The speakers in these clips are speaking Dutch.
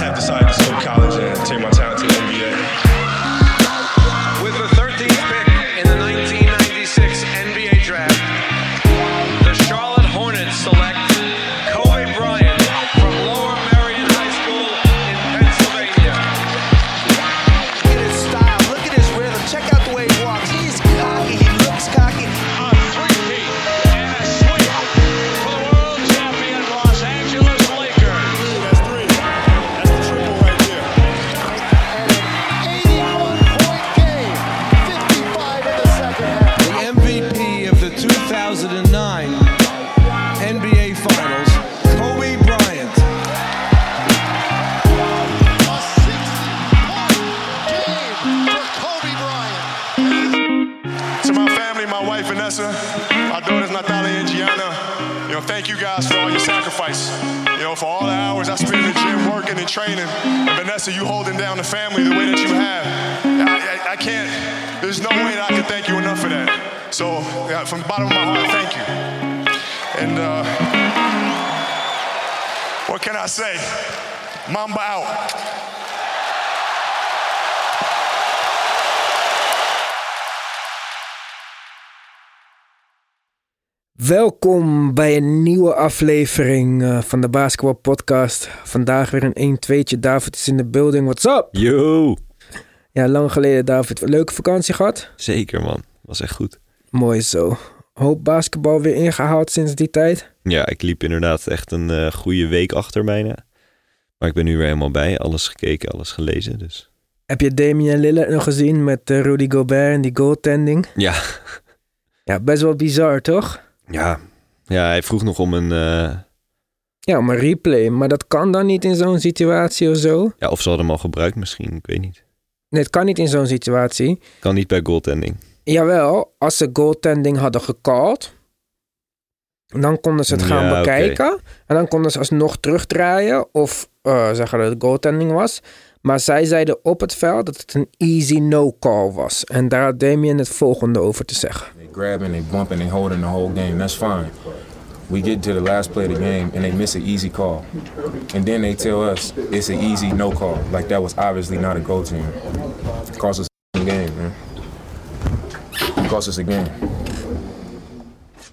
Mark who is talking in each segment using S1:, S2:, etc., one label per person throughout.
S1: decided to skip college and take my talent to the NBA.
S2: With the 13th pick in the 1996 NBA draft, the Charlotte Hornets select Kobe Bryant from Lower Marion High School in Pennsylvania.
S3: Look at his style. Look at his rhythm. Check out the way he walks. He's cocky. He looks cocky.
S4: A three-peat and a sweep for the world champion Los Angeles Lakers.
S5: That's three. That's the triple right there.
S3: 81-point game. 55 in the second half.
S6: the MVP of the 2009 NBA Finals, Kobe Bryant.
S3: A 60-point game for Kobe Bryant.
S5: To my family, my wife Vanessa, my daughters Natalia and Gianna, you know, thank you guys for all your sacrifice. You know, for all the hours I spent in the gym working and training. And Vanessa, you holding down the family the way that you have. I, I, I can't, there's no way that I can thank you enough for that. So, yeah, from the bottom of my heart, thank you. And uh, what can I say? Mamba out.
S7: Welkom bij een nieuwe aflevering eh, van de Basketball Podcast. Vandaag weer een 1-2'tje. David is in de building. What's up?
S8: Yo!
S7: Ja, lang geleden David. Leuke vakantie gehad?
S8: Zeker man, was echt goed.
S7: Mooi zo. Hoop basketbal weer ingehaald sinds die tijd.
S8: Ja, ik liep inderdaad echt een eh, goede week achter bijna. Maar ik ben nu weer helemaal bij, alles gekeken, alles gelezen, dus...
S7: Heb je Damian Lillard nog gezien met eh, Rudy Gobert en die goaltending?
S8: Ja,
S7: Ja, best wel bizar, toch?
S8: ja. Ja, hij vroeg nog om een... eh,
S7: Ja, maar replay. Maar dat kan dan niet in zo'n situatie of zo?
S8: ja, of ze hadden hem al gebruikt misschien, ik weet niet.
S7: Nee, het kan niet in zo'n situatie.
S8: Kan niet bij goaltending.
S7: Jawel, als ze goaltending hadden gecalled, dan konden ze het gaan
S8: Ja, oké.
S7: bekijken. En dan konden ze alsnog terugdraaien of eh, zeggen dat het goaltending was. Maar zij zeiden op het veld dat het een easy no-call was. En daar had Damien het volgende over te zeggen.
S9: They grabbing, they bumping, they holding the whole game. That's fine. We get to the last play of the game and they miss an easy call. And then they tell us it's an easy no call. Like that was obviously not a go team. Cost us a game, man. Cost us a game.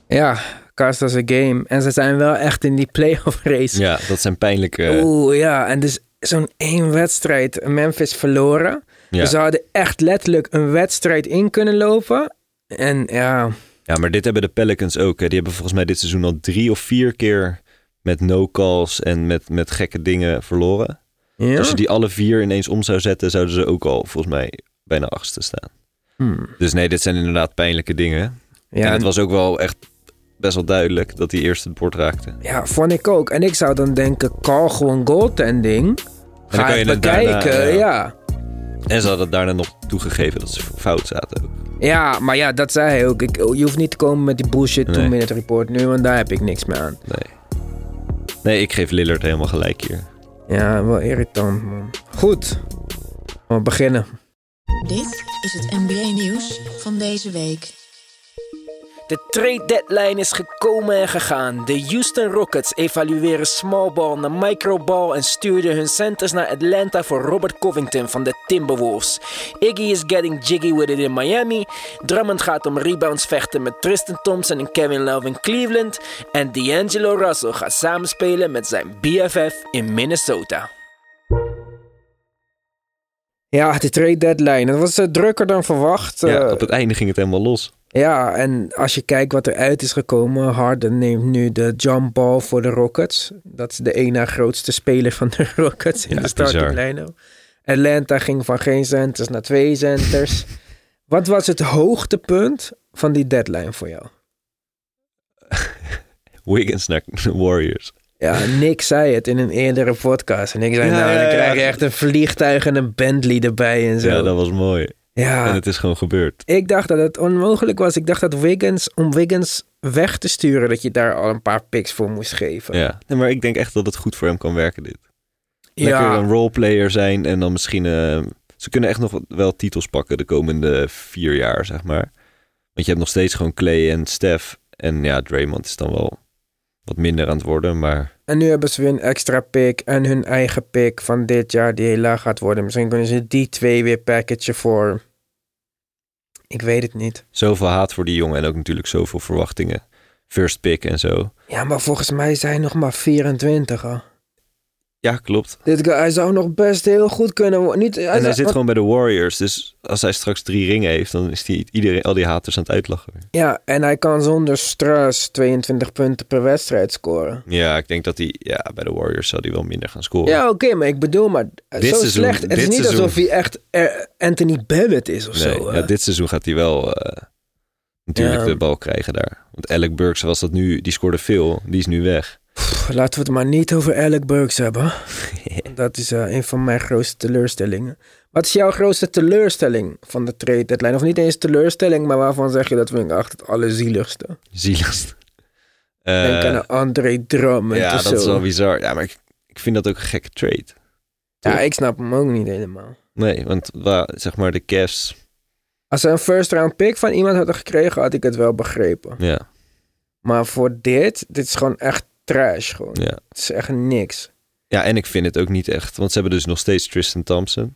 S7: Ja, cast as a game. En ze zijn wel echt in die playoff race.
S8: Ja, dat zijn pijnlijke...
S7: Oeh, ja. En dus zo'n één wedstrijd Memphis verloren.
S8: Ja.
S7: Dus ze hadden echt letterlijk een wedstrijd in kunnen lopen. En ja...
S8: Ja, maar dit hebben de Pelicans ook. Hè. Die hebben volgens mij dit seizoen al drie of vier keer met no-calls en met, met gekke dingen verloren.
S7: ja.
S8: Als je die alle vier ineens om zou zetten, zouden ze ook al volgens mij bijna achtste staan. Dus nee, dit zijn inderdaad pijnlijke dingen.
S7: Hmm. Ja,
S8: en het was ook wel echt best wel duidelijk dat hij eerst het bord raakte. En
S7: ja, vond ik ook. En ik zou dan denken, call gewoon goaltending. Ga
S8: kan
S7: het
S8: je het
S7: bekijken,
S8: daarna, ja.
S7: ja.
S8: ze hadden het daarna nog toegegeven dat ze fout zaten ook.
S7: Ja, maar ja, dat zei hij ook. Ik, je hoeft niet te komen met die bullshit
S8: Nee.
S7: toen in het report nu, want daar heb ik niks meer aan.
S8: Nee. Nee, ik geef Lillard helemaal gelijk hier.
S7: Ja, wel irritant, man. Goed, we beginnen.
S10: Dit is het NBA-nieuws van deze week.
S7: De trade deadline is gekomen en gegaan. De Houston Rockets evalueren small ball naar microball en stuurden hun centers naar Atlanta voor Robert Covington van de Timberwolves. Iggy is getting jiggy with it in Miami. Drummond gaat om rebounds vechten met Tristan Thompson en Kevin Love in Cleveland. En D'Angelo Russell gaat samenspelen met zijn BFF in Minnesota. Ja, de trade deadline. Dat was eh, drukker dan verwacht. eh,
S8: Ja, op het einde ging het helemaal los.
S7: Ja, en als je kijkt wat er uit is gekomen, Harden neemt nu de jump ball voor de Rockets. Dat is de ene na grootste speler van de Rockets in
S8: Ja,
S7: de starting
S8: bizar.
S7: line-up. Atlanta ging van geen centers naar twee centers. wat was het hoogtepunt van die deadline voor jou?
S8: Wiggins naar Warriors.
S7: Ja, Nick zei het in een eerdere podcast. En ik zei,
S8: Ja,
S7: nou,
S8: ja,
S7: dan
S8: ja.
S7: krijg je echt een vliegtuig en een Bentley erbij en zo. Ah.
S8: Ja, dat was mooi.
S7: Ja.
S8: En het is gewoon gebeurd.
S7: Ik dacht dat het onmogelijk was. Ik dacht dat Wiggins, om Wiggins weg te sturen, dat je daar al een paar picks voor moest geven.
S8: Ja. Nee, maar ik denk echt dat het goed voor hem kan werken dit.
S7: Ja.
S8: Lekker een roleplayer zijn en dan misschien... eh, ze kunnen echt nog wel titels pakken de komende vier jaar, zeg maar. Want je hebt nog steeds gewoon Clay en Steph. En ja, Draymond is dan wel wat minder aan het worden, maar
S7: En nu hebben ze weer een extra pick en hun eigen pick van dit jaar die heel laag gaat worden. Misschien kunnen ze die twee weer packagen voor... Ik weet het niet.
S8: zoveel haat voor die jongen en ook natuurlijk zoveel verwachtingen. First pick en zo.
S7: Ja, maar volgens mij zijn hij nog maar 24. Hè.
S8: Ja, klopt.
S7: Dit guy, hij zou nog best heel goed kunnen worden. Niet, hij
S8: En hij
S7: zou-
S8: zit
S7: want-
S8: gewoon bij de Warriors, dus als hij straks drie ringen heeft, dan is die iedereen, al die haters aan het uitlachen.
S7: Ja, en hij kan zonder stress 22 punten per wedstrijd scoren.
S8: Ja, ik denk dat hij, ja, bij de Warriors zal hij wel minder gaan scoren.
S7: Ja, oké, maar ik bedoel, maar eh,
S8: Dit
S7: zo
S8: seizoen-
S7: slecht. Het
S8: dit
S7: is niet
S8: seizoen.
S7: alsof hij echt eh, Anthony Bennett is of
S8: nee,
S7: zo. hè.
S8: ja, dit seizoen gaat hij wel eh, natuurlijk
S7: Ja.
S8: de bal krijgen daar. Want Alec Burks was dat nu, die scoorde veel, die is nu weg.
S7: Pff, laten we het maar niet over Alec Burks hebben. Dat is eh, een van mijn grootste teleurstellingen. Wat is jouw grootste teleurstelling van de trade deadline? Of niet eens teleurstelling, maar waarvan zeg je dat vind ik echt het allerzieligste?
S8: Zielig.
S7: Denk
S8: Eh,
S7: aan André Drummond
S8: ja,
S7: of
S8: dat
S7: zo.
S8: is wel bizar. Ja, maar ik, ik vind dat ook een gekke trade.
S7: Ja, ik snap hem ook niet helemaal.
S8: Nee, want wa- zeg maar de Cavs,
S7: Als ze een first round pick van iemand hadden gekregen, had ik het wel begrepen.
S8: ja,
S7: Maar voor dit, dit is gewoon echt trash gewoon.
S8: ja.
S7: Het is echt niks.
S8: Ja, en ik vind het ook niet echt, want ze hebben dus nog steeds Tristan Thompson.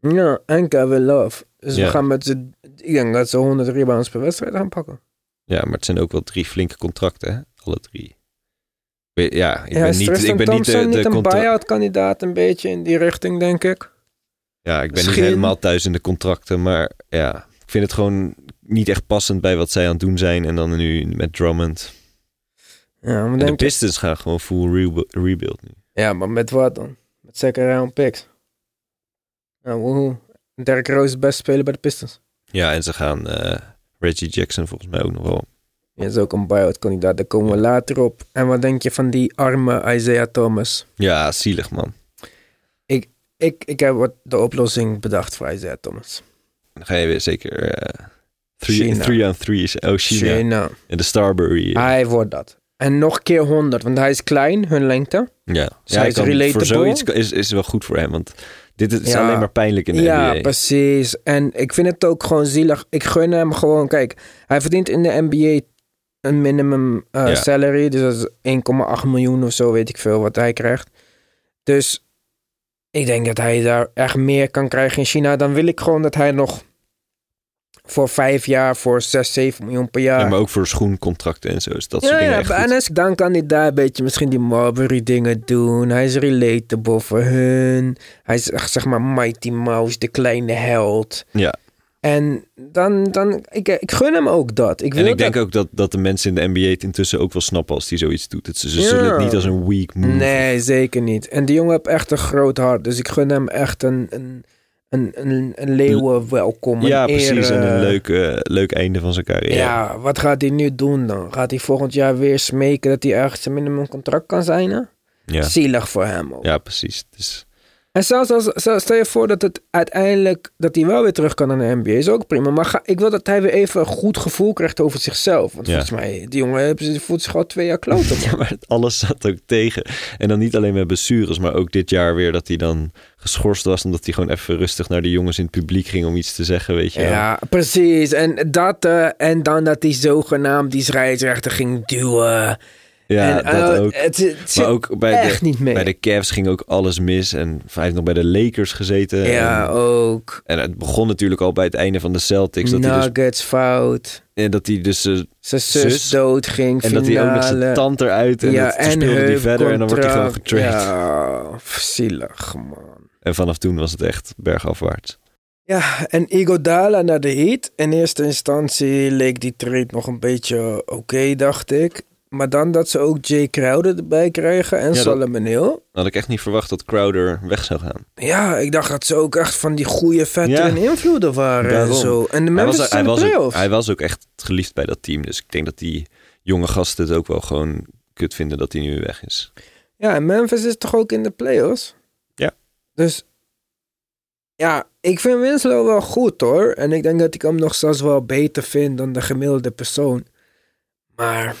S7: Ja, en Kevin Love. Dus
S8: Ja.
S7: we gaan met z'n... Ik denk dat ze 100 rebounds per wedstrijd gaan pakken.
S8: Ja, maar het zijn ook wel drie flinke contracten, hè? alle drie. Ik weet- Ja, ik
S7: ja,
S8: ben
S7: is
S8: niet,
S7: Tristan
S8: ik ben niet
S7: Thompson
S8: de, de
S7: een
S8: contra-
S7: buyout kandidaat een beetje in die richting, denk ik?
S8: Ja, ik ben
S7: Misschien-
S8: niet helemaal thuis in de contracten, maar ja, ik vind het gewoon niet echt passend bij wat zij aan het doen zijn. En dan nu met Drummond.
S7: Ja, maar,
S8: En de
S7: denk
S8: Pistons gaan gewoon full rebe- rebuild nu.
S7: ja, maar met wat dan? Met second round picks. Nou, woehoe. Derrick Rose is best speler bij de Pistons.
S8: Ja, en ze gaan eh, Reggie Jackson volgens mij ook nog wel.
S7: Ja, is ook een buyout kandidaat, daar komen we later op. En wat denk je van die arme Isaiah Thomas?
S8: Ja, zielig man.
S7: Ik, ik, ik heb wat de oplossing bedacht voor Isaiah Thomas.
S8: Dan ga je weer zeker eh three,
S7: China.
S8: three on three. is- Oh, China.
S7: China.
S8: En de Starbury. eh,
S7: Hij wordt dat. En nog keer 100, want hij is klein, hun lengte.
S8: Ja,
S7: Zij is relatable.
S8: voor zoiets kan- is, is wel goed voor hem, want dit is
S7: Ja.
S8: alleen maar pijnlijk in de
S7: ja,
S8: NBA.
S7: precies. En ik vind het ook gewoon zielig. Ik gun hem gewoon, kijk, hij verdient in de NBA een minimum eh,
S8: Ja.
S7: salary. Dus dat is 1,8 miljoen of zo, weet ik veel wat hij krijgt. Dus ik denk dat hij daar echt meer kan krijgen in China. Dan wil ik gewoon dat hij nog voor vijf jaar, voor 6, 7 miljoen per jaar.
S8: Ja, maar ook voor schoencontracten en zo. Dus dat soort dingen echt goed.
S7: en als- dan kan hij daar een beetje misschien die Marbury dingen doen. Hij is relatable voor hun. Hij is echt, zeg maar Mighty Mouse, de kleine held.
S8: Ja,
S7: En dan, dan ik, ik gun hem ook dat. Ik wil
S8: en ik denk
S7: dat-
S8: ook dat, dat de mensen in de NBA het intussen ook wel snappen als die zoiets doet. Het, ze ze
S7: Ja.
S8: zullen het niet als een weak move.
S7: Nee, zeker niet. En die jongen heeft echt een groot hart. Dus ik gun hem echt een, een, een, een, een leeuwen welkom.
S8: ja,
S7: een
S8: precies.
S7: ere.
S8: En een leuk, eh, leuk einde van zijn carrière.
S7: Ja, wat gaat hij nu doen dan? Gaat hij volgend jaar weer smeken dat hij ergens een minimum contract kan zijn? Hè?
S8: ja.
S7: Zielig voor hem ook.
S8: Ja, precies. Dus,
S7: En zelfs als, zelfs stel je voor dat het uiteindelijk dat hij wel weer terug kan naar de NBA, is ook prima. Maar ga, ik wil dat hij weer even een goed gevoel krijgt over zichzelf. Want
S8: Ja.
S7: volgens mij, die jongen heeft- voelt zich al twee jaar kloten. man.
S8: ja, maar het- alles zat ook tegen. En dan niet alleen met blessures, maar ook dit jaar weer dat hij dan geschorst was. Omdat hij gewoon even rustig naar de jongens in het publiek ging om iets te zeggen, weet je
S7: ja.
S8: wel.
S7: precies. En dat eh, en dan dat hij zogenaamd die scheidsrechter ging duwen.
S8: Ja,
S7: en,
S8: dat
S7: eh,
S8: ook.
S7: Het, het zit
S8: maar ook bij
S7: echt
S8: de,
S7: niet mee.
S8: bij de Cavs ging ook alles mis. En hij heeft nog bij de Lakers gezeten.
S7: ja, oh.
S8: En,
S7: ook.
S8: en het begon natuurlijk al bij het einde van de Celtics. Dat hij dus,
S7: Nuggets fout.
S8: en dat hij dus eh,
S7: Zijn zus,
S8: Zus.
S7: doodging.
S8: en dat hij ook nog zijn
S7: finale.
S8: tand eruit. En dat, toen speelde hij
S7: hun
S8: verder. En dan wordt hij gewoon
S7: contract.
S8: getraind.
S7: Ja, zielig, man.
S8: En vanaf toen was het echt bergafwaarts.
S7: Ja, en Igodala naar de Heat. In eerste instantie leek die trade nog een beetje oké, dacht ik. Maar dan dat ze ook Jay Crowder erbij krijgen en
S8: dat-
S7: Solomon Hill.
S8: Dan had ik echt niet verwacht dat Crowder weg zou gaan.
S7: Ja, ik dacht dat ze ook echt van die goede veteran
S8: Ja.
S7: invloeden waren en
S8: Daarom.
S7: zo. En de
S8: Hij
S7: Memphis
S8: was,
S7: zijn
S8: hij,
S7: de
S8: was ook,
S7: playoffs.
S8: hij was ook echt geliefd bij dat team. Dus ik denk dat die jonge gasten het ook wel gewoon kut vinden dat hij nu weg is.
S7: Ja, en Memphis is toch ook in de playoffs?
S8: Ja.
S7: Dus ja, ik vind Winslow wel goed hoor. En ik denk dat ik hem nog zelfs wel beter vind dan de gemiddelde persoon. Maar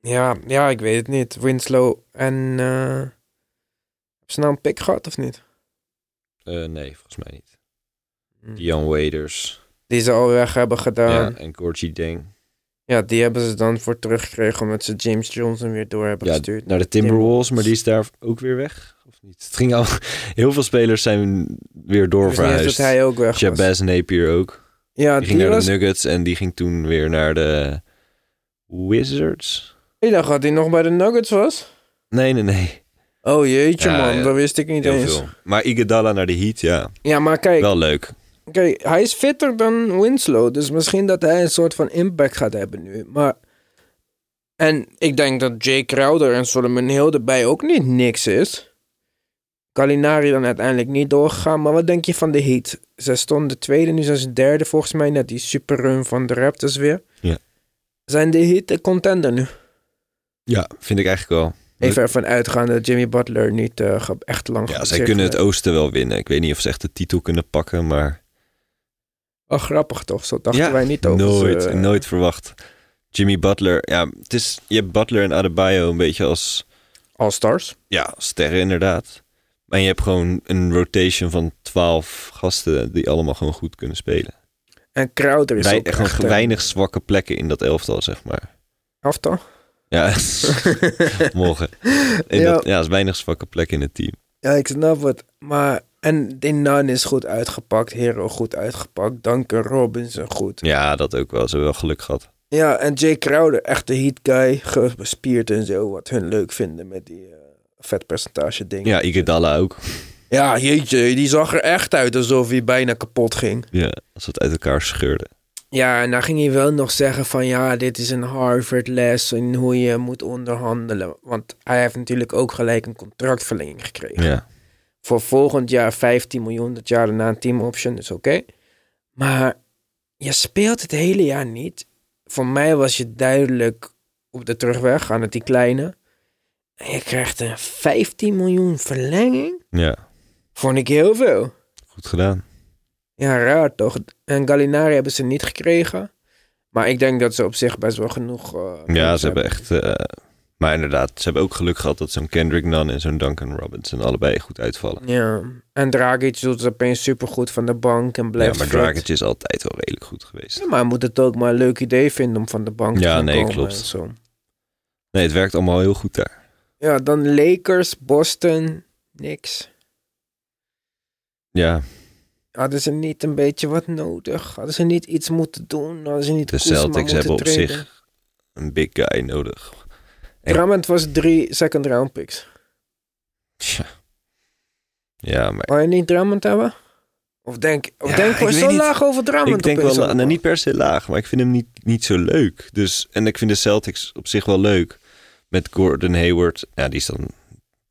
S7: ja, ja ik weet het niet. Winslow en eh heb ze nou een pick gehad of niet?
S8: Eh, nee, volgens mij niet. Dion Waders
S7: Die ze al weg hebben gedaan.
S8: ja,
S7: Hmm. Ja,
S8: en Gorgie Deng.
S7: Ja, die hebben ze dan voor teruggekregen omdat ze James Johnson weer door hebben
S8: Ja,
S7: gestuurd.
S8: naar de Timberwolves, maar die is daar ook weer weg. Of niet? Het ging al... Heel veel spelers zijn weer
S7: Dus niet eens
S8: doorverhuisd.
S7: dat hij ook weg was.
S8: Jabez Napier ook.
S7: Ja,
S8: die ging
S7: die
S8: naar
S7: was-
S8: de Nuggets en die ging toen weer naar de Wizards.
S7: Ik dacht dat hij nog bij de Nuggets was.
S8: Nee, nee, nee.
S7: Oh jeetje
S8: Ja,
S7: man,
S8: ja.
S7: dat wist ik niet
S8: Heel
S7: eens.
S8: veel. Maar Iguodala naar de Heat, ja.
S7: Ja, maar kijk,
S8: Wel leuk.
S7: kijk, hij is fitter dan Winslow. Dus misschien dat hij een soort van impact gaat hebben nu. Maar. En ik denk dat Jay Crowder en Solomon Hill erbij ook niet niks is. Kalinari dan uiteindelijk niet doorgegaan. Maar wat denk je van de Heat? Zij stonden tweede, nu zijn ze derde volgens mij. Net die superrun van de Raptors weer.
S8: Ja.
S7: Zijn de Heat de contender nu?
S8: Ja, vind ik eigenlijk wel.
S7: Even ervan uitgaan dat Jimmy Butler niet eh, ge- echt lang
S8: Ja,
S7: gaat
S8: zij
S7: zitten.
S8: kunnen het oosten wel winnen. Ik weet niet of ze echt de titel kunnen pakken, maar
S7: Oh, grappig toch? Zo dachten
S8: Ja,
S7: wij niet over.
S8: nooit,
S7: ze, eh,
S8: nooit verwacht. Jimmy Butler, ja, het is, je hebt Butler en Adebayo een beetje als...
S7: All-stars.
S8: Ja, sterren inderdaad. En je hebt gewoon een rotation van twaalf gasten die allemaal gewoon goed kunnen spelen.
S7: En Crowder is
S8: Wij,
S7: ook
S8: gewoon
S7: echt, eh,
S8: weinig zwakke plekken in dat elftal, zeg maar.
S7: Aftal?
S8: Ja, morgen. In
S7: Ja.
S8: dat- ja, er is weinig zwakke plekken in het team.
S7: Ja, ik snap het. Maar, en Dinan is goed uitgepakt. Hero goed uitgepakt. Duncan Robinson goed.
S8: Ja, dat ook wel. Ze hebben wel geluk gehad.
S7: Ja, en Jay Crowder, echt de heat guy. Gespierd en zo, wat hun leuk vinden met die eh, vetpercentage dingen.
S8: Ja, Iguodala ook.
S7: Ja, jeetje, die zag er echt uit alsof hij bijna kapot ging.
S8: Ja, als het uit elkaar scheurde.
S7: Ja, en dan ging hij wel nog zeggen van ja, dit is een Harvard-les en hoe je moet onderhandelen. Want hij heeft natuurlijk ook gelijk een contractverlenging gekregen.
S8: Ja.
S7: Voor volgend jaar 15 miljoen, dat jaar daarna een team option, dus oké. Maar je speelt het hele jaar niet. Voor mij was je duidelijk op de terugweg aan het die kleine. En je krijgt een 15 miljoen verlenging.
S8: Ja,
S7: Vond ik heel veel.
S8: goed gedaan.
S7: Ja, raar toch? En Gallinari hebben ze niet gekregen. Maar ik denk dat ze op zich best wel genoeg. eh,
S8: Ja,
S7: punten
S8: ze hebben echt... eh, maar inderdaad, ze hebben ook geluk gehad dat zo'n Kendrick Nunn en zo'n Duncan Robinson allebei goed uitvallen.
S7: Ja. En Dragic doet het opeens supergoed van de bank en
S8: Ja,
S7: blijft.
S8: maar
S7: fit.
S8: Dragic is altijd wel redelijk goed geweest.
S7: Ja, maar hij moet het ook maar een leuk idee vinden om van de bank te
S8: Ja,
S7: gaan
S8: nee,
S7: komen
S8: klopt.
S7: en zo.
S8: Nee, het werkt allemaal heel goed daar.
S7: Ja, dan Lakers, Boston, niks.
S8: Ja,
S7: Hadden ze niet een beetje wat nodig? Hadden ze niet iets moeten doen? Hadden ze niet
S8: de
S7: Kuzma
S8: Celtics
S7: moeten
S8: hebben op
S7: traden?
S8: zich een big guy nodig. En-
S7: Drummond was drie second round picks.
S8: Tja. Ja, maar
S7: Wou je niet Drummond hebben? Of denk, of
S8: Ja,
S7: denk
S8: ik
S7: je
S8: weet
S7: zo
S8: niet.
S7: laag over Drummond
S8: ik denk
S7: opeens
S8: wel, la-
S7: allemaal?
S8: nou, niet per se laag, maar ik vind hem niet, niet zo leuk. Dus, en ik vind de Celtics op zich wel leuk. Met Gordon Hayward, ja, die is dan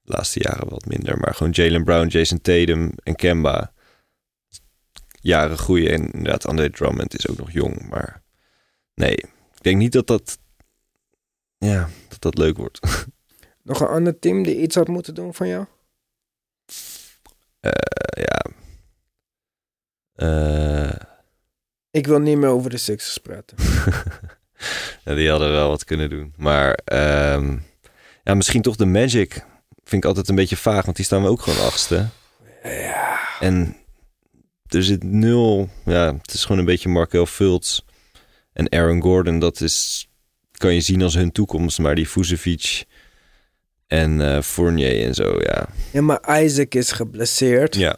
S8: de laatste jaren wat minder. Maar gewoon Jalen Brown, Jason Tatum en Kemba. Jaren groeien en inderdaad Andre Drummond is ook nog jong. Maar nee, ik denk niet dat dat, ja, dat, dat leuk wordt.
S7: Nog een ander team die iets had moeten doen van jou?
S8: Eh, ja. Eh,
S7: Ik wil niet meer over de Sixers praten.
S8: ja, die hadden wel wat kunnen doen. Maar ehm, ja, misschien toch de Magic. Vind ik altijd een beetje vaag, want die staan we ook gewoon achtste. Ja. En er zit nul. Ja, het is gewoon een beetje Markel Fultz. En Aaron Gordon, dat is, kan je zien als hun toekomst. Maar die Vucevic en eh, Fournier en zo, ja.
S7: Ja, maar Isaac is geblesseerd.
S8: Ja.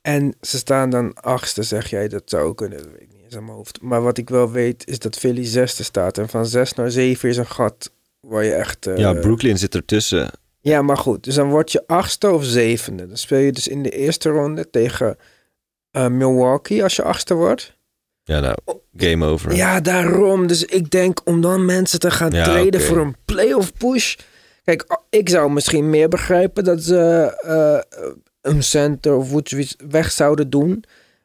S7: En ze staan dan achtste, zeg jij. Dat zou kunnen, dat weet ik niet eens aan mijn hoofd. Maar wat ik wel weet, is dat Philly zesde staat. En van zes naar zeven is een gat waar je echt... eh,
S8: ja, Brooklyn zit ertussen.
S7: Ja, maar goed. Dus dan word je achtste of zevende. Dan speel je dus in de eerste ronde tegen eh, Milwaukee als je achtste wordt.
S8: Ja, nou, game over.
S7: Oh. Ja, daarom. Dus ik denk om dan mensen te gaan
S8: Ja,
S7: traden
S8: oké.
S7: voor een playoff push. Kijk, a- ik zou misschien meer begrijpen dat ze eh, een center of Woodwitch weg zouden doen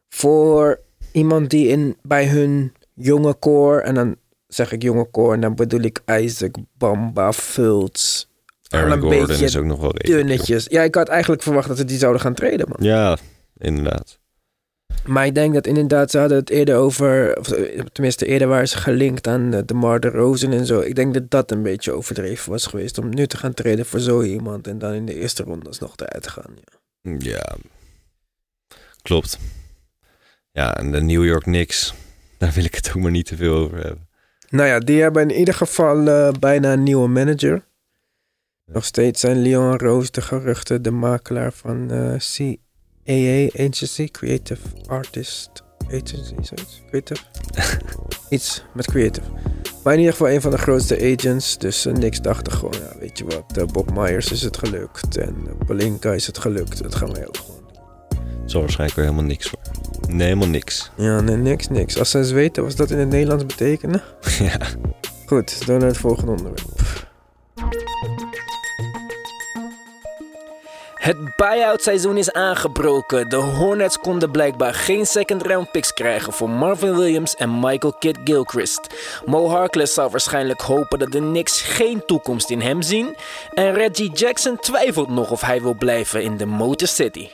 S7: voor iemand die in, bij hun jonge core, en dan zeg ik jonge core, en dan bedoel ik Isaac, Bamba, Fultz.
S8: Aaron
S7: Al een
S8: Gordon
S7: beetje
S8: is ook nog wel redelijk
S7: dunnetjes. Ja, ik had eigenlijk verwacht dat ze die zouden gaan traden, man.
S8: Ja, inderdaad.
S7: Maar ik denk dat inderdaad, ze hadden het eerder over, of eh, tenminste eerder waren ze gelinkt aan de DeMar DeRozan en zo. Ik denk dat dat een beetje overdreven was geweest om nu te gaan treden voor zo iemand en dan in de eerste ronde alsnog eruit te gaan. Ja.
S8: Ja, klopt. Ja, en de New York Knicks, daar wil ik het ook maar niet te veel over hebben.
S7: Nou ja, die hebben in ieder geval eh, bijna een nieuwe manager. Nog steeds zijn Leon Roos de geruchten, de makelaar van eh CAA Agency, Creative Artist Agency, zoiets. Creative? Iets met creative. Maar in ieder geval een van de grootste agents. Dus eh, niks dachten gewoon, ja, weet je wat, eh, Bob Myers is het gelukt. En eh, Palinka is het gelukt. Dat gaan wij ook gewoon.
S8: Zal waarschijnlijk weer helemaal niks voor. Nee, helemaal niks.
S7: Ja, nee, niks, niks. Als ze eens weten wat dat in het Nederlands betekenen.
S8: Ja.
S7: Goed, door naar het volgende onderwerp.
S11: Het buy-out seizoen is aangebroken. De Hornets konden blijkbaar geen second round picks krijgen voor Marvin Williams en Michael Kidd Gilchrist. Mo Harkless zou waarschijnlijk hopen dat de Knicks geen toekomst in hem zien. En Reggie Jackson twijfelt nog of hij wil blijven in de Motor City.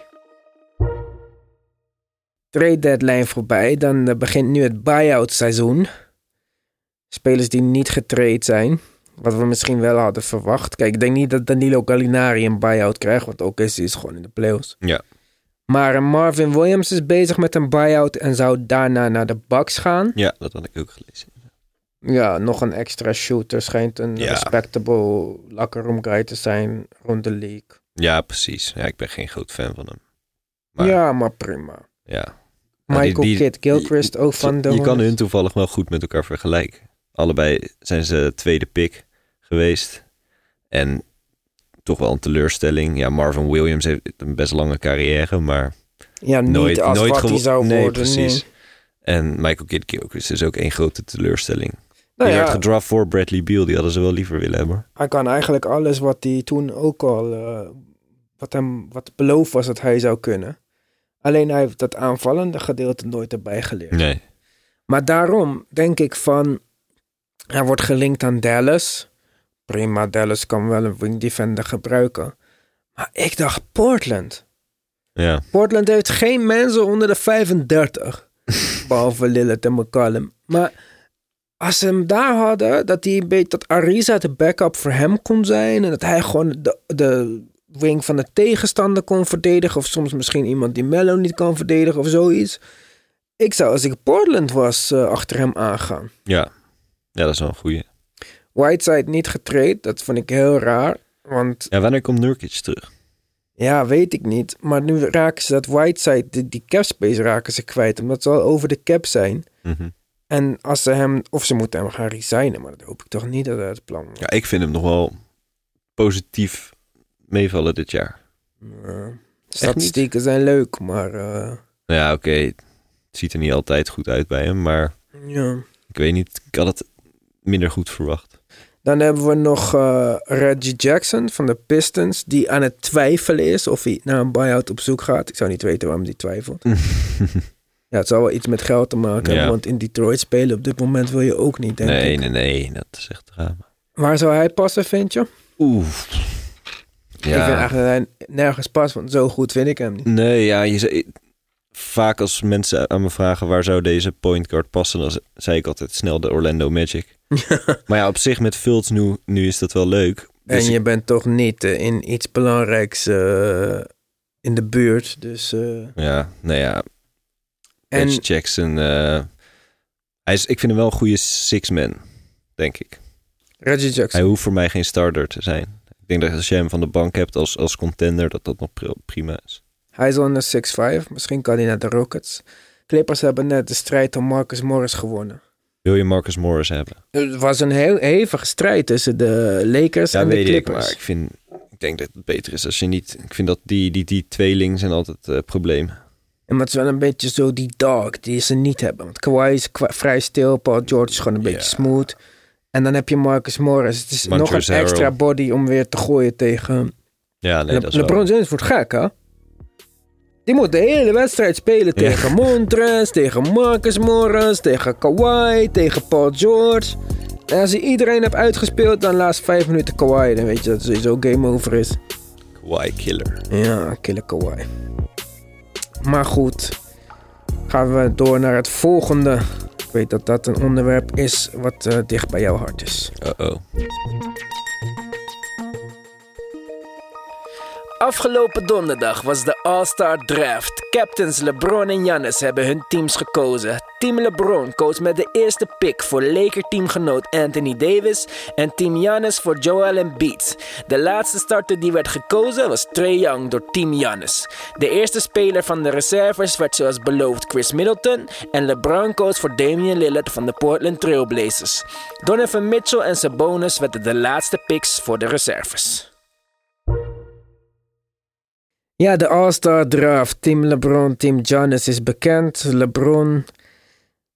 S7: trade deadline voorbij. Dan eh, begint nu het buy-out seizoen. Spelers die niet getraind zijn. Wat we misschien wel hadden verwacht. Kijk, ik denk niet dat Danilo Gallinari een buy-out krijgt. Want ook is, die is gewoon in de playoffs.
S8: Ja.
S7: Maar eh, Marvin Williams is bezig met een buy-out en zou daarna naar de Bucks gaan.
S8: Ja, dat had ik ook gelezen.
S7: Ja, nog een extra shooter schijnt een
S8: Ja.
S7: respectable locker room guy te zijn rond de league.
S8: Ja, precies. Ja, ik ben geen groot fan van hem.
S7: ja, maar prima.
S8: Ja. Maar die-
S7: Michael
S8: die-
S7: Kidd, Gilchrist ook van de
S8: Je kan
S7: Hornets.
S8: hun toevallig wel goed met elkaar vergelijken. Allebei zijn ze tweede pick geweest. En toch wel een teleurstelling. Ja, Marvin Williams heeft een best lange carrière, maar
S7: Ja, niet
S8: nooit,
S7: als
S8: nooit
S7: wat hij
S8: gewo-
S7: zou
S8: nee,
S7: worden,
S8: Precies.
S7: nee.
S8: En Michael Kidd Gilchrist is ook één grote teleurstelling.
S7: Nou
S8: die
S7: ja.
S8: werd gedraft voor Bradley Beal. Die hadden ze wel liever willen hebben.
S7: Hij kan eigenlijk alles wat hij toen ook al, eh, wat, hem, wat beloofd was dat hij zou kunnen. Alleen hij heeft dat aanvallende gedeelte nooit erbij geleerd.
S8: Nee.
S7: Maar daarom denk ik van, hij wordt gelinkt aan Dallas. Prima, Dallas kan wel een wing defender gebruiken. Maar ik dacht Portland.
S8: Ja.
S7: Portland heeft geen mensen onder de 35. behalve Lillard en McCallum. Maar als ze hem daar hadden, dat, hij een beetje, dat Ariza de backup voor hem kon zijn. En dat hij gewoon de, de wing van de tegenstander kon verdedigen. Of soms misschien iemand die Mello niet kan verdedigen of zoiets. Ik zou, als ik Portland was, eh, achter hem aangaan.
S8: Ja. Ja, dat is wel een goeie.
S7: Whiteside niet getraind, dat vond ik heel raar. Want
S8: Ja, wanneer komt Nurkic terug?
S7: ja, weet ik niet. Maar nu raken ze dat Whiteside, die, die cap space raken ze kwijt. Omdat ze al over de cap zijn.
S8: Mhm.
S7: En als ze hem, of ze moeten hem gaan resignen. Maar dat hoop ik toch niet dat dat het plan
S8: Ja, ik vind hem nog wel positief meevallen dit jaar.
S7: Eh, statistieken zijn leuk, maar eh,
S8: Nou Ja, oké. Het ziet er niet altijd goed uit bij hem, maar
S7: ja.
S8: ik weet niet. Ik had het minder goed verwacht.
S7: Dan hebben we nog eh, Reggie Jackson van de Pistons, die aan het twijfelen is of hij naar een buyout op zoek gaat. Ik zou niet weten waarom hij twijfelt. ja, het zal wel iets met geld te maken hebben,
S8: Ja.
S7: want in Detroit spelen op dit moment wil je ook niet, denk
S8: nee,
S7: ik.
S8: nee, nee. Dat is echt drama.
S7: Waar zou hij passen, vind je?
S8: Oeh.
S7: Ik vind
S8: Ja.
S7: eigenlijk dat hij nergens past, want zo goed vind ik hem niet.
S8: Nee, ja. Je, zei- vaak als mensen aan me vragen waar zou deze point guard passen, dan ze- zei ik altijd snel de Orlando Magic. maar ja, op zich met Fultz nu, nu is dat wel leuk. Dus
S7: en je
S8: ik-
S7: bent toch niet eh, in iets belangrijks eh, in de buurt, dus... eh,
S8: Ja, dus- nou ja.
S7: En-
S8: En... Jackson. eh, hij is, ik vind hem wel een goede six-man, denk ik.
S7: Reggie Jackson.
S8: Hij hoeft voor mij geen starter te zijn. Ik denk dat als je hem van de bank hebt als, als contender, dat dat nog pri- prima is.
S7: Hij is al in de 6-5. Misschien kan hij naar de Rockets. Clippers hebben net de strijd om Marcus Morris gewonnen.
S8: Wil je Marcus Morris hebben?
S7: Het was een heel hevige strijd tussen de Lakers
S8: Ja,
S7: en de
S8: weet ik, maar
S7: Clippers.
S8: ik, vind, ik denk dat het beter is als je niet... Ik vind dat die, die, die tweeling zijn altijd eh, een probleem.
S7: En dat is wel een beetje zo die dog die ze niet hebben. Want Kawhi is kwa- vrij stil. Paul George is gewoon een beetje smooth. En dan heb je Marcus Morris. Het is nog
S8: Montrezl
S7: een extra
S8: Harrell.
S7: body om weer te gooien tegen...
S8: Ja, nee,
S7: Le-
S8: dat is wel-
S7: LeBron James wordt gek, hè? Die moet de hele wedstrijd spelen
S8: Ja.
S7: tegen Montres, tegen Marcus Morris, tegen Kawhi, tegen Paul George. En als je iedereen hebt uitgespeeld, dan laatst vijf minuten Kawhi. Dan weet je dat het sowieso game over is.
S8: Kawhi killer.
S7: Ja, killer Kawhi. Maar goed, gaan we door naar het volgende. Ik weet dat dat een onderwerp is wat eh, dicht bij jouw hart is.
S8: Uh-oh.
S11: Afgelopen donderdag was de All-Star Draft. Captains LeBron en Giannis hebben hun teams gekozen. Team LeBron koos met de eerste pick voor Laker-teamgenoot Anthony Davis en Team Giannis voor Joel Embiid. De laatste starter die werd gekozen was Trae Young door Team Giannis. De eerste speler van de reserves werd zoals beloofd Chris Middleton en LeBron koos voor Damian Lillard van de Portland Trailblazers. Donovan Mitchell en Sabonis werden de laatste picks voor de reserves.
S7: Ja, de All-Star Draft. Team LeBron, Team Giannis is bekend. LeBron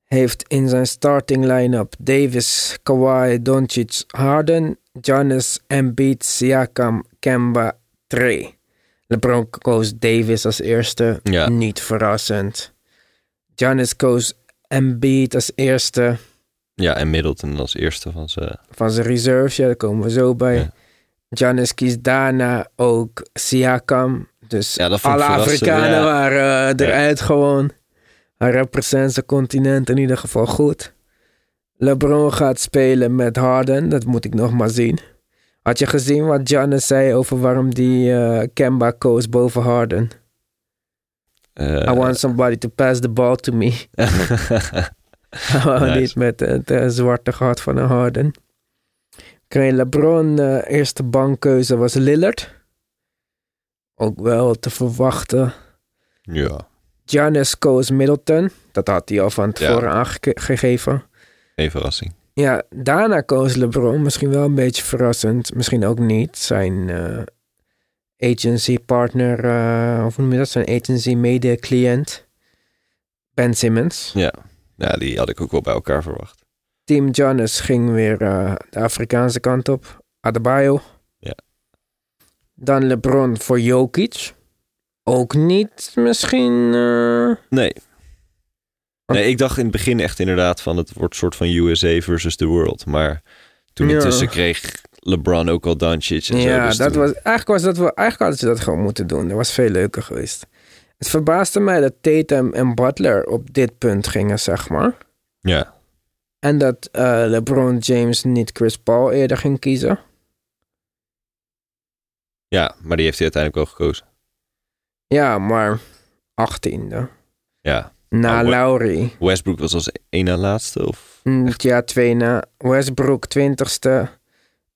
S7: heeft in zijn starting line-up Davis, Kawhi, Doncic, Harden, Giannis, Embiid, Siakam, Kemba, Trey. LeBron koos Davis als eerste.
S8: Ja.
S7: Niet verrassend. Giannis koos Embiid als eerste
S8: Ja, en Middleton als eerste van ze.
S7: van zijn reserves. Ja, daar komen we zo bij.
S8: Ja.
S7: Giannis kiest daarna ook Siakam. Dus
S8: Ja, dat vond ik
S7: alle
S8: verrassend,
S7: Afrikanen
S8: ja.
S7: waren eh, eruit gewoon. Hij represent zijn continent in ieder geval goed. LeBron gaat spelen met Harden. Dat moet ik nog maar zien. Had je gezien wat Giannis zei over waarom die eh Kemba koos boven Harden?
S8: Eh,
S7: I want somebody to pass the ball to me. Hij wou
S8: Nice.
S7: Niet met het eh, zwarte gat van een Harden. Kreeg LeBron, eh, eerste bankkeuze was Lillard. Ook wel te verwachten.
S8: ja,
S7: Giannis koos Middleton. Dat had hij al van tevoren aangegeven.
S8: geen verrassing.
S7: Ja, daarna koos LeBron. Misschien wel een beetje verrassend. Misschien ook niet. Zijn eh, agency partner, eh, of hoe noem je dat? Zijn agency mede cliënt. Ben Simmons.
S8: Ja. ja, die had ik ook wel bij elkaar verwacht.
S7: Team Giannis ging weer eh, de Afrikaanse kant op. Adebayo.
S8: Ja.
S7: Dan LeBron voor Jokic. Ook niet misschien... eh,
S8: Nee. Nee, ik dacht in het begin echt inderdaad van het wordt soort van USA versus the world. Maar toen
S7: Ja.
S8: intussen kreeg LeBron ook al Doncic en zo.
S7: ja,
S8: dus
S7: dat
S8: toen-
S7: was, eigenlijk, was dat wel, eigenlijk hadden ze dat gewoon moeten doen. Dat was veel leuker geweest. Het verbaasde mij dat Tatum en Butler op dit punt gingen, zeg maar.
S8: Ja,
S7: En dat eh, LeBron James niet Chris Paul eerder ging kiezen.
S8: ja, maar die heeft hij uiteindelijk wel gekozen.
S7: Ja, maar 18e.
S8: Ja.
S7: Na
S8: Nou, we-
S7: Lowry.
S8: Westbrook was als één na laatste of...
S7: Mm, Ja, twee na. Westbrook 20ste.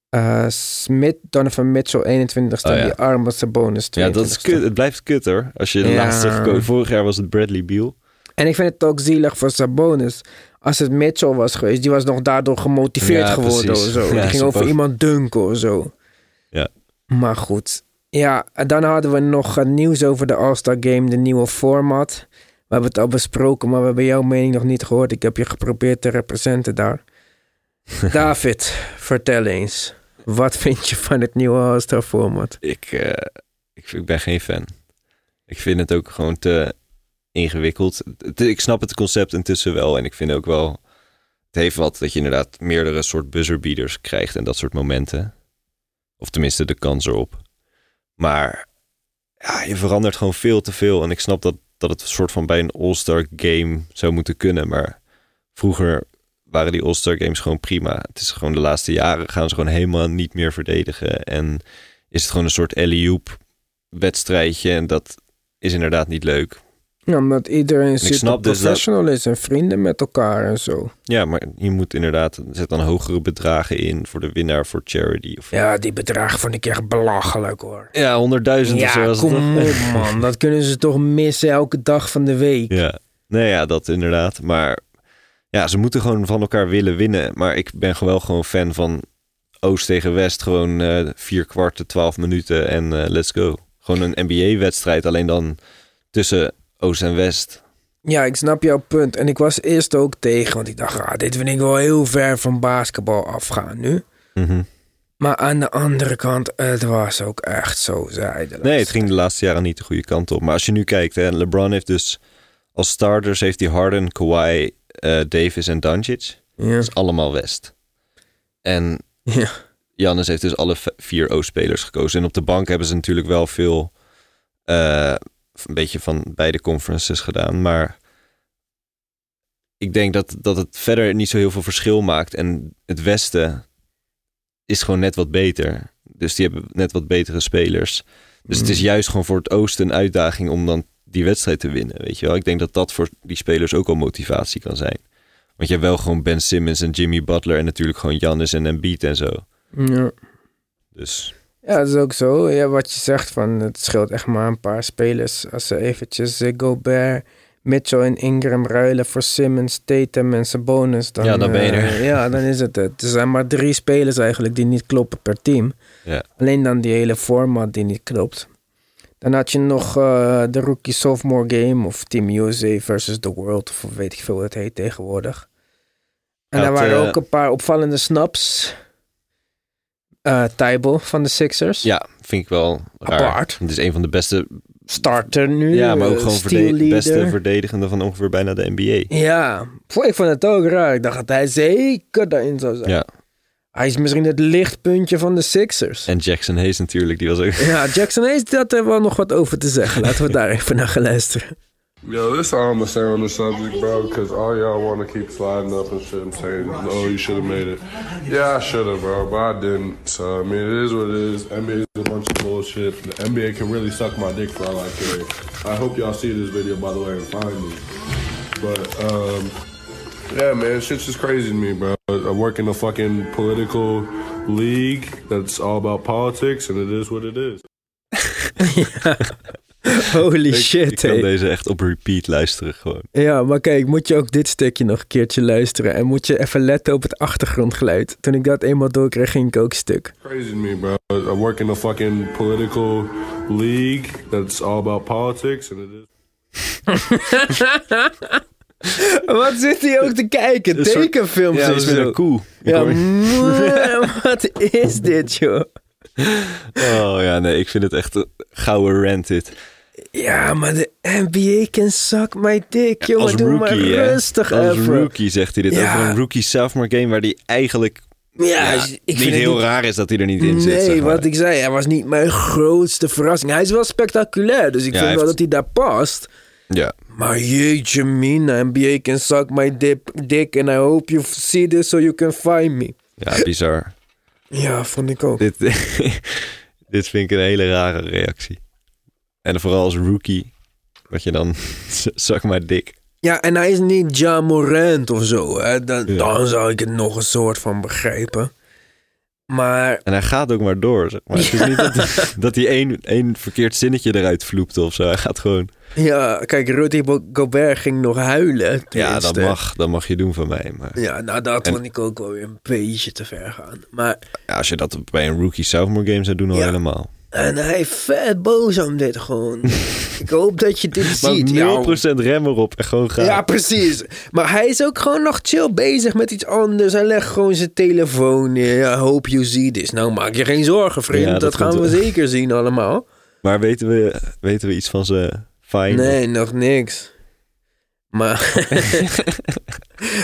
S7: Eh, Smith, Donovan Mitchell 21ste.
S8: Oh, ja.
S7: Die arme Sabonis 20ste.
S8: Ja, dat is kut. Het blijft kut hoor. Als je de
S7: Ja.
S8: laatste gekozen... Vorig jaar was het Bradley Beal.
S7: En ik vind het ook zielig voor Sabonis. Als het Mitchell was geweest, die was nog daardoor gemotiveerd
S8: Ja,
S7: geworden
S8: precies.
S7: of zo.
S8: Ja,
S7: die ging over
S8: Sabonis.
S7: iemand dunken of zo.
S8: Ja.
S7: Maar goed. Ja, en dan hadden we nog eh, nieuws over de All-Star Game, de nieuwe format. We hebben het al besproken, maar we hebben jouw mening nog niet gehoord. Ik heb je geprobeerd te representen daar. David, vertel eens. Wat vind je van het nieuwe All-Star format?
S8: Ik, eh, ik, ik ben geen fan. Ik vind het ook gewoon te ingewikkeld. Het- Ik snap het concept intussen wel. En ik vind ook wel... Het heeft wat dat je inderdaad meerdere soort buzzerbieders krijgt en dat soort momenten. Of tenminste de kans erop. Maar ja, je verandert gewoon veel te veel. En ik snap dat, dat het een soort van bij een All-Star game zou moeten kunnen. Maar vroeger waren die All-Star games gewoon prima. Het is gewoon de laatste jaren gaan ze gewoon helemaal niet meer verdedigen. En is het gewoon een soort alley-oop wedstrijdje. En dat is inderdaad niet leuk.
S7: Ja, omdat iedereen super
S8: snap dus dat-
S7: professional is en vrienden met elkaar en zo.
S8: Ja, maar je moet inderdaad, zet dan hogere bedragen in voor de winnaar, voor charity. Of,
S7: Ja, die bedragen vond ik echt belachelijk hoor.
S8: ja, 100.000 of zo.
S7: Ja,
S8: was het
S7: kom
S8: toch?
S7: op man. Dat kunnen ze toch missen elke dag van de week.
S8: Ja, nee, ja, dat inderdaad. Maar ja, ze moeten gewoon van elkaar willen winnen. Maar ik ben gewoon wel gewoon fan van Oost tegen West. Gewoon eh, vier kwarten, twaalf minuten en eh, let's go. Gewoon een NBA-wedstrijd, alleen dan tussen Oost en West.
S7: Ja, ik snap jouw punt. En ik was eerst ook tegen, want ik dacht, ah, dit vind ik wel heel ver van basketbal afgaan nu.
S8: Mhm.
S7: Maar aan de andere kant, het was ook echt zo zijdelijk.
S8: Nee, het ging de laatste jaren niet de goede kant op. Maar als je nu kijkt, hè, LeBron heeft dus als starters heeft hij Harden, Kawhi, eh, Davis en Doncic.
S7: Ja.
S8: Dat is allemaal West. En
S7: Ja.
S8: Jannes heeft dus alle v- vier O-spelers gekozen. En op de bank hebben ze natuurlijk wel veel... eh, een beetje van beide conferences gedaan. Maar ik denk dat, dat het verder niet zo heel veel verschil maakt. En het Westen is gewoon net wat beter. Dus die hebben net wat betere spelers. Dus het is juist gewoon voor het Oosten een uitdaging om dan die wedstrijd te winnen. Weet je wel? Ik denk dat dat voor die spelers ook al motivatie kan zijn. Want je hebt wel gewoon Ben Simmons en Jimmy Butler en natuurlijk gewoon Giannis en Embiid en zo.
S7: Ja.
S8: Dus
S7: Ja, dat is ook zo. Ja, wat je zegt, van, het scheelt echt maar een paar spelers. Als ze eventjes eh, Gobert, Mitchell en Ingram ruilen voor Simmons, Tatum en Sabonis. Dan,
S8: Ja, dan ben je
S7: eh,
S8: er.
S7: ja, dan is het het. Er zijn maar drie spelers eigenlijk die niet kloppen per team.
S8: ja,
S7: Alleen dan die hele format die niet klopt. Dan had je nog eh, de Rookie Sophomore Game of Team USA versus The World. Of weet ik veel hoe het heet tegenwoordig. En daar
S8: Ja, het,
S7: waren
S8: eh,
S7: ook een paar opvallende snaps. Eh Tybal van de Sixers.
S8: ja vind ik wel raar.
S7: Apart.
S8: Het is een van de beste,
S7: starter nu.
S8: ja, maar ook
S7: eh,
S8: gewoon verde-
S7: steelleader.
S8: beste verdedigende van ongeveer bijna de NBA.
S7: Ja, Pff, ik vond het ook raar. Ik dacht dat hij zeker daarin zou zijn.
S8: Ja,
S7: Hij is misschien het lichtpuntje van de Sixers.
S8: en Jackson Hayes natuurlijk, die was ook...
S7: Ja, Jackson Hayes had er wel nog wat over te zeggen. Laten we daar even naar gaan luisteren.
S5: Yo, this almost on the subject, bro, because all y'all want to keep sliding up and shit and saying, oh, you should have made it. Yeah, I should have, bro, but I didn't. So, I mean, it is what it is. NBA is a bunch of bullshit. The NBA can really suck my dick for all I care. I hope y'all see this video, by the way, and find me. But, um, yeah, man, shit's just crazy to me, bro. I work in a fucking political league that's all about politics, and it is what it is.
S7: Holy
S8: Ik-
S7: shit,
S8: Ik kan
S7: hé.
S8: deze echt op repeat luisteren gewoon.
S7: Ja, maar kijk, moet je ook dit stukje nog een keertje luisteren. En moet je even letten op het achtergrondgeluid. Toen ik dat eenmaal doorkreeg, ging ik ook stuk.
S5: Crazy to me, bro. I work in a fucking political league that's all about politics, and it is.
S7: Wat zit hij ook te kijken?
S5: Een soort-
S7: Tekenfilms
S5: Ja,
S7: of
S5: iets met
S7: zo.
S5: een
S8: koe.
S7: Ja, mm. mwah, wat is dit, joh?
S8: Oh ja, nee, ik vind het echt een gouden rant dit.
S7: Ja, maar de NBA can suck my dick, jongen.
S8: Als
S7: Doe
S8: rookie,
S7: maar
S8: hè?
S7: rustig
S8: Als
S7: even.
S8: rookie zegt hij dit
S7: Ja.
S8: over een rookie sophomore game waar die eigenlijk
S7: Ja,
S8: ja,
S7: ik vind
S8: niet
S7: het
S8: heel
S7: niet-
S8: raar is dat hij er niet in zit.
S7: Nee,
S8: zeg maar.
S7: wat ik zei, hij was niet mijn grootste verrassing. Hij is wel spectaculair, dus ik
S8: Ja,
S7: vind wel
S8: hij
S7: dat
S8: heeft-
S7: hij daar past.
S8: Ja.
S7: Maar jeetje mina, NBA can suck my dip, dick and I hope you see this so you can find me.
S8: ja, bizar.
S7: Ja, vond ik ook.
S8: dit, dit vind ik een hele rare reactie. En vooral als rookie, wat je dan, zak maar dik.
S7: Ja, en hij is niet Ja Morant of zo. Hè? Dan, dan zou ik het nog een soort van begrijpen. Maar
S8: En hij gaat ook maar door. Zeg maar. Het is niet dat, dat hij één, één verkeerd zinnetje eruit vloept of zo. Hij gaat gewoon,
S7: ja, kijk, Rudy Bo- Gobert ging nog huilen.
S8: ja, dat
S7: tenminste.
S8: mag, dat mag je doen van mij. Maar...
S7: Ja, nou, dat
S8: En-
S7: vond ik ook wel weer een beetje te ver gaan. Maar
S8: Ja, als je dat bij een rookie sophomore game zou doen, al
S7: Ja.
S8: helemaal.
S7: en hij is vet boos om dit gewoon. ik hoop dat je dit
S8: Maar 0%
S7: ziet. jou.
S8: rem erop en gewoon gaan.
S7: Ja, precies. Maar hij is ook gewoon nog chill bezig met iets anders. Hij legt gewoon zijn telefoon neer. Ja, hope you see this. Nou, maak je geen zorgen, vriend.
S8: Ja,
S7: dat
S8: dat
S7: gaan
S8: komt
S7: we
S8: wel.
S7: zeker zien allemaal.
S8: Maar weten we, weten we iets van zijn fine?
S7: Nee, nog niks. Maar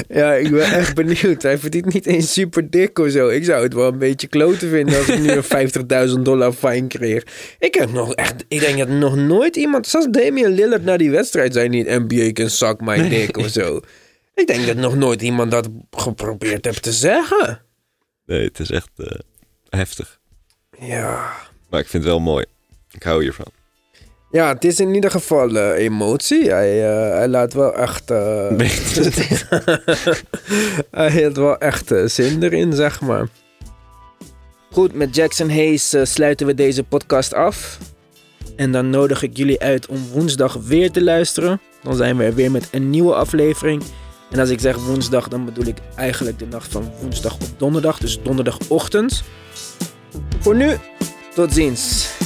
S7: ja, ik ben echt benieuwd. Hij verdient niet eens super dik of zo. Ik zou het wel een beetje kloten vinden als ik nu een 50.000 dollar fine kreeg. Ik heb nog echt, ik denk dat nog nooit iemand, zelfs Damian Lillard na die wedstrijd zei niet NBA can suck my dick of zo. Ik denk dat nog nooit iemand dat geprobeerd heeft te zeggen.
S8: Nee, het is echt eh, heftig.
S7: Ja.
S8: Maar ik vind het wel mooi. Ik hou hiervan.
S7: Ja, het is in ieder geval eh, emotie. Hij, eh, hij laat wel echt. eh, hij heeft wel echt eh, zin erin, zeg maar.
S11: Goed, met Jackson Hayes eh, sluiten we deze podcast af. En dan nodig ik jullie uit om woensdag weer te luisteren. Dan zijn we er weer met een nieuwe aflevering. En als ik zeg woensdag, dan bedoel ik eigenlijk de nacht van woensdag op donderdag. Dus donderdagochtend. Voor nu, tot ziens.